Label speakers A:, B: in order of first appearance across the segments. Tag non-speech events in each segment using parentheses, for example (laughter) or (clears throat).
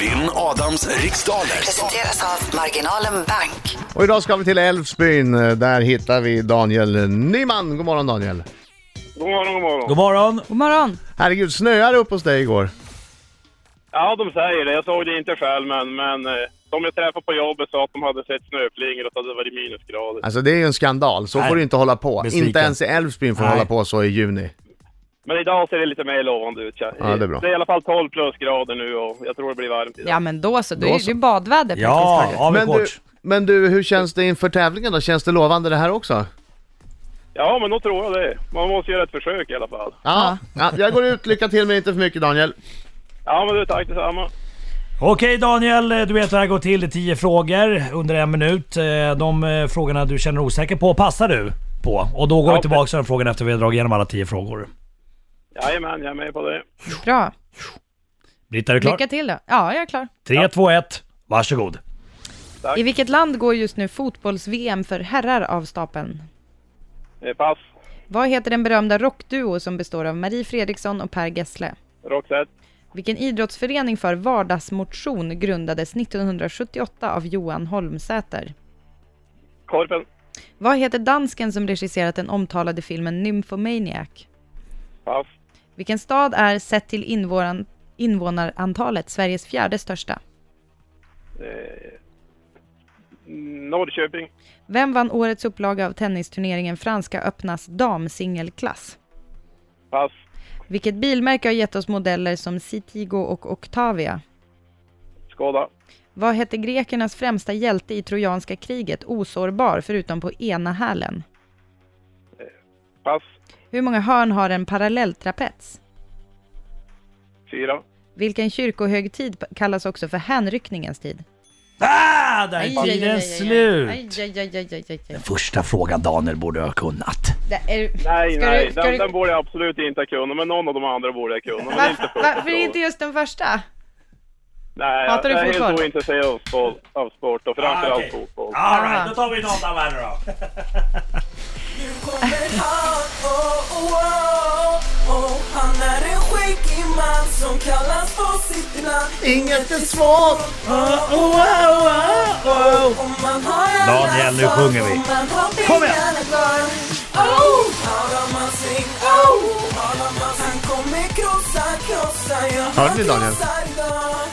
A: Vinn Adams riksdaler.
B: Presenteras av Marginalen Bank.
C: Och idag ska vi till Älvsbyn. Där hittar vi Daniel Nyman. God morgon Daniel.
D: God morgon, god morgon.
E: God morgon!
F: God morgon!
C: Herregud, snöade det upp hos dig igår?
D: Ja, de säger det. Jag såg det inte själv, men, men eh, de jag träffade på jobbet sa att de hade sett snöflingor och att det hade varit minusgrader.
C: Alltså det är ju en skandal. Så
E: Nej.
C: får du inte hålla på.
E: Besviken.
C: Inte ens i Älvsbyn får du
E: Nej.
C: hålla på så i juni.
D: Men idag ser det lite mer lovande ut. Ja,
C: Ja, det är bra.
D: det är i alla fall 12 plusgrader nu och jag tror det blir varmt idag.
F: Ja men då så, då
C: Då
F: är
C: så.
F: det ju badväder
E: Ja,
F: praktiskt taget.
E: av med
C: Men du,
E: kort.
C: men du, hur känns det inför tävlingen då? Känns det lovande det här också?
D: Ja, men då tror jag det. Man måste göra ett försök i alla fall.
C: Ja. ja. Jag går ut. Lycka till men inte för mycket Daniel.
D: Ja, men du, tack detsamma.
E: Okej Daniel, du vet hur det här går till. Det är 10 frågor under en minut. Eh, De eh, frågorna du känner osäker på passar du på. Och då går
D: Ja,
E: vi tillbaka till den frågan efter vi har dragit igenom alla 10 frågor.
D: Jajamän, jag är med på det.
F: Bra.
E: Britta, är du klar?
F: Lycka till då. Ja, jag är klar.
E: 3, 2, 1. Varsågod.
F: I vilket land går just nu fotbolls-VM för herrar av stapeln?
D: Eh, Pass.
F: Vad heter den berömda rockduo som består av Marie Fredriksson och Per Gessle?
D: Roxette.
F: Vilken idrottsförening för vardagsmotion grundades 1978 av Johan Holmsäter?
D: Korpen.
F: Vad heter dansken som regisserat den omtalade filmen Nymphomaniac?
D: Pass.
F: Vilken stad är, sett till invånan- invånarantalet, Sveriges fjärde största?
D: Eh, Norrköping.
F: Vem vann årets upplaga av tennisturneringen Franska öppnas damsingelklass?
D: Pass.
F: Vilket bilmärke har gett oss modeller som Citigo och Octavia?
D: Skåda.
F: Vad hette grekernas främsta hjälte i Trojanska kriget, osårbar förutom på ena hälen?
D: Pass.
F: Hur många hörn har en parallelltrapets?
D: Fyra.
F: Vilken kyrkohögtid p- kallas också för hänryckningens tid?
E: Ah, där är tiden
F: Aj,
E: slut!
F: aj, aj, aj, aj, aj, aj.
E: Första frågan Daniel borde ha kunnat.
F: Det är-
D: Nej,
F: Ska
D: nej,
F: du- ska
D: den,
F: du-
D: den borde jag absolut inte ha kunnat, men någon av de andra borde jag kunna. Men inte
F: Varför,
D: första
F: varför
D: frågan.
F: inte just den första?
D: Nej,
F: Hatar du
D: jag är
F: fotboll?
D: helt ointresserad av sport, av sport och framförallt
E: Ah, okej.
D: fotboll.
E: Alright, då tar vi datavärlden då.
G: Kommer han, oh, oh, oh, oh. Han är en skäggig man som kallas på sitt namn
C: Inget är svårt!
G: Om man har alla
E: Daniel, nu
G: svar,
E: sjunger vi.
G: om man har
E: Kom igen.
G: pengarna kvar. Oh, har man sin, oh, har man Han kommer krossa, krossa, ja, han
C: Hörde ni, Daniel?
G: krossar idag.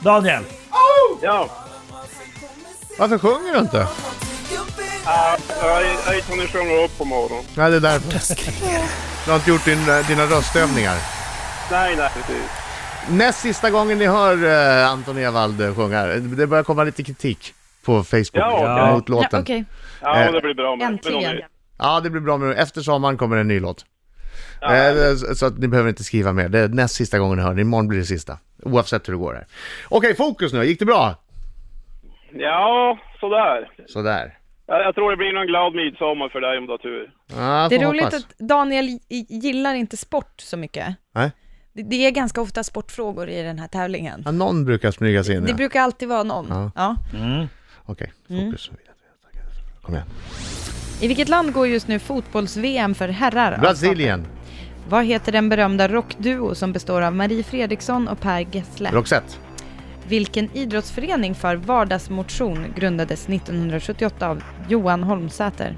E: Daniel,
D: Ja,
C: Varför sjunger du inte?
G: Han tycker upp i
D: ah, jag jag inte hunnit sjunga upp på morgonen.
C: Nej, det är därför. Du har inte gjort din, eh, dina röstövningar.
D: Nej, nej, precis.
C: Näst sista gången ni hör eh, Anton Ewald eh, sjunga. Det börjar komma lite kritik på Facebook
D: Ja,
E: okej.
C: mot låten.
F: Ja,
C: Ja,
F: okej.
D: Ja,
C: Eh,
D: men det blir bra med.
F: Äntligen.
C: det blir bra med Efter sommaren kommer en ny låt.
D: Ja,
C: Eh, så- så att ni behöver inte skriva mer. Det är näst sista gången ni hör det. Imorgon blir det sista. Oavsett hur det går här. Okej, fokus nu. Gick det bra?
D: Ja, sådär.
C: Sådär.
D: Jag, jag tror det blir någon glad midsommar för dig om du har tur.
C: Ja,
F: Det är
C: får
F: roligt
C: hoppas.
F: att Daniel i- gillar inte sport så mycket.
C: Nej.
F: Det- Det är ganska ofta sportfrågor i den här tävlingen.
C: Ja, någon brukar smyga sig in.
F: Det Mm.
C: Ja.
F: brukar alltid vara någon.
C: Ja.
F: Ja.
C: Okej, fokus. Kom igen.
F: I vilket land går just nu fotbolls-VM för herrar?
C: Brasilien.
F: Alltså, Vad heter den berömda rockduo som består av Marie Fredriksson och Per Gessle?
C: Roxette.
F: Vilken idrottsförening för vardagsmotion grundades 1978 av Johan Holmsäter?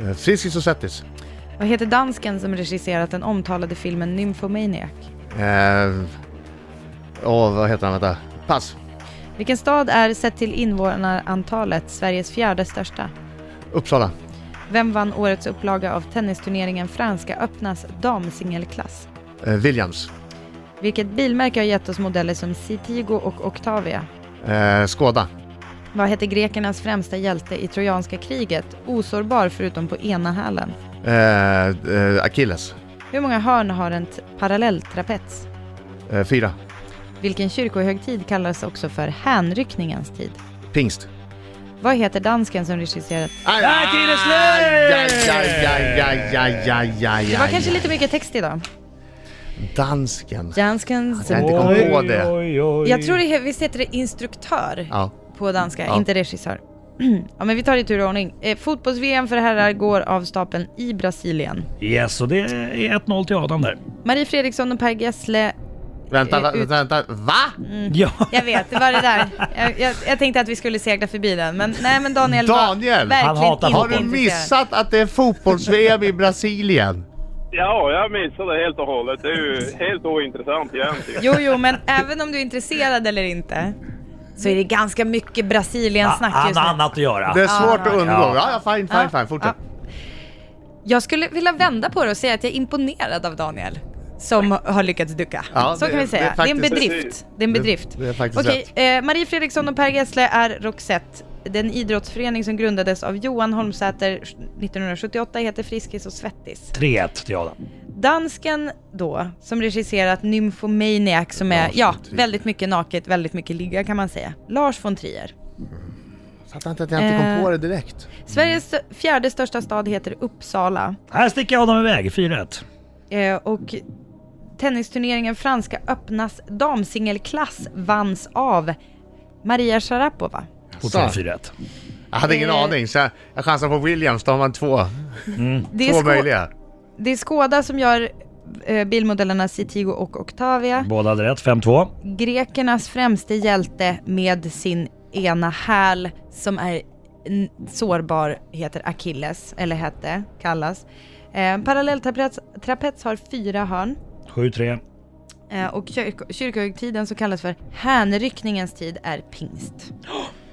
C: Eh, Friskis och Svettis.
F: Vad heter dansken som regisserat den omtalade filmen Nymphomaniac?
C: Eh, åh, vad heter han? Vänta. Pass.
F: Vilken stad är, sett till invånarantalet, Sveriges fjärde största?
C: Uppsala.
F: Vem vann årets upplaga av tennisturneringen Franska öppnas damsingelklass?
C: Eh, Williams.
F: Vilket bilmärke har gett oss modeller som Citigo och Octavia?
C: Eh, Skåda.
F: Vad hette grekernas främsta hjälte i Trojanska kriget, osårbar förutom på ena hälen?
C: Eh, eh, Achilles.
F: Hur många hörn har en t- parallelltrapets?
C: Eh, fyra.
F: Vilken kyrkohögtid kallas också för hänryckningens tid?
C: Pingst.
F: Vad heter dansken som regisserat...
C: Aj,
E: Där är tiden slut!
C: aj, aj, aj, aj, aj, aj, aj,
F: Det var
C: aj.
F: kanske lite mycket text idag.
C: Dansken.
F: Dansken
C: Jag inte
F: som...
C: kom på det.
E: Oj, oj.
F: Jag tror det, visst heter det instruktör?
C: Ja.
F: på danska,
C: Ja.
F: inte regissör. (clears throat) ja, men vi tar det i tur och ordning. Eh, Fotbolls-VM för herrar går av stapeln i Brasilien.
E: Yes, och det är 1-0 till Adam där.
F: Marie Fredriksson och Per Gessle
C: Vänta,
F: eh,
C: vänta,
F: ut... Mm.
C: vänta. Va?
E: Ja.
F: Jag vet, det var det där. Jag, jag, jag tänkte att vi skulle segla förbi den, men nej men Daniel,
C: Daniel, han
F: var verkligen
E: hatar
F: inte
C: Har du
F: intresserad.
C: missat att det är fotbolls-VM
F: (laughs)
C: i Brasilien?
D: Ja, jag missade det helt och hållet. Det är ju helt ointressant egentligen.
F: Jo, jo, men även om du är intresserad eller inte så är det ganska mycket Brasilien-snack
E: Han
F: just
E: har
F: nu.
E: annat att göra.
C: Det är svårt att undgå.
E: Ja.
C: Ja, ja fine, fine, fine. Fortsätt.
F: Jag skulle vilja vända på det och säga att jag är imponerad av Daniel. Som har lyckats ducka.
C: Ja,
F: så
C: det-
F: kan vi
C: det
F: säga.
C: är
F: Det är, en
C: faktiskt-
F: bedrift. Det är en
C: Det-
F: bedrift.
C: det är faktiskt
F: Okej, eh, Marie Fredriksson och Per Gessle är Roxette. Den idrottsförening som grundades av Johan Holmsäter 1978 heter Friskis och Svettis.
E: 3-1 till Adam.
F: Dansken då, som regisserat Nymphomaniac som är, ja, väldigt mycket naket, väldigt mycket ligga kan man säga. Lars von Trier.
C: Fattar inte att jag inte kom
F: Eh.
C: på det direkt.
F: Sveriges fjärde största stad heter Uppsala.
E: Här sticker Adam iväg. 4-1.
F: Eh, och tennisturneringen Franska öppnas damsingelklass vanns av Maria Sharapova.
E: Fortfarande
C: Så.
E: 4-1.
C: Jag hade ingen
F: Eh.
C: aning, så jag, jag chansar på Williams. Då har man två,
F: Det är,
C: två
F: Skå-
C: möjliga.
F: det är Skoda som gör eh, bilmodellerna Citigo och Octavia.
E: Båda hade rätt. 5-2.
F: Grekernas främste hjälte med sin ena häl som är n- sårbar heter Achilles, eller hette, kallas. Eh, Parallelltrapets trapets har fyra hörn.
E: 7-3.
F: Eh, och kyrk- kyrkohögtiden som kallas för hänryckningens tid är
C: (gasps)
F: pingst.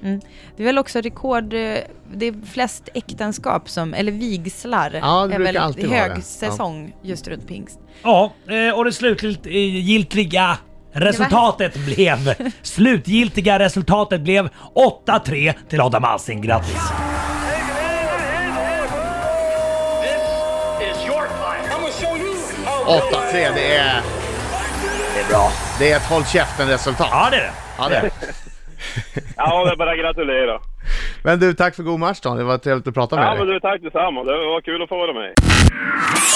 F: Mm. Det är väl också rekord, eh, det är flest äktenskap som, eller vigslar,
C: Ja, det
F: är
C: brukar
F: väl
C: alltid vara det.
F: högsäsong just runt pingst.
E: Ja, eh, och det slutgiltiga resultatet blev... Slutgiltiga resultatet blev 8-3 till Adam Alsing. Grattis!
C: Åtta, tre, det är...
E: Det är bra.
C: Det är ett håll käften-resultat.
E: Ja, det är det.
C: Ja, det är det.
D: Ja, det är bara att gratulera.
C: Men du, tack för god match då. Det var trevligt att prata med
D: Ja,
C: dig.
D: men du, tack detsamma. Det var kul att få vara med.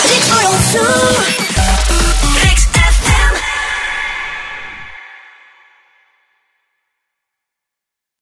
H: Riks 2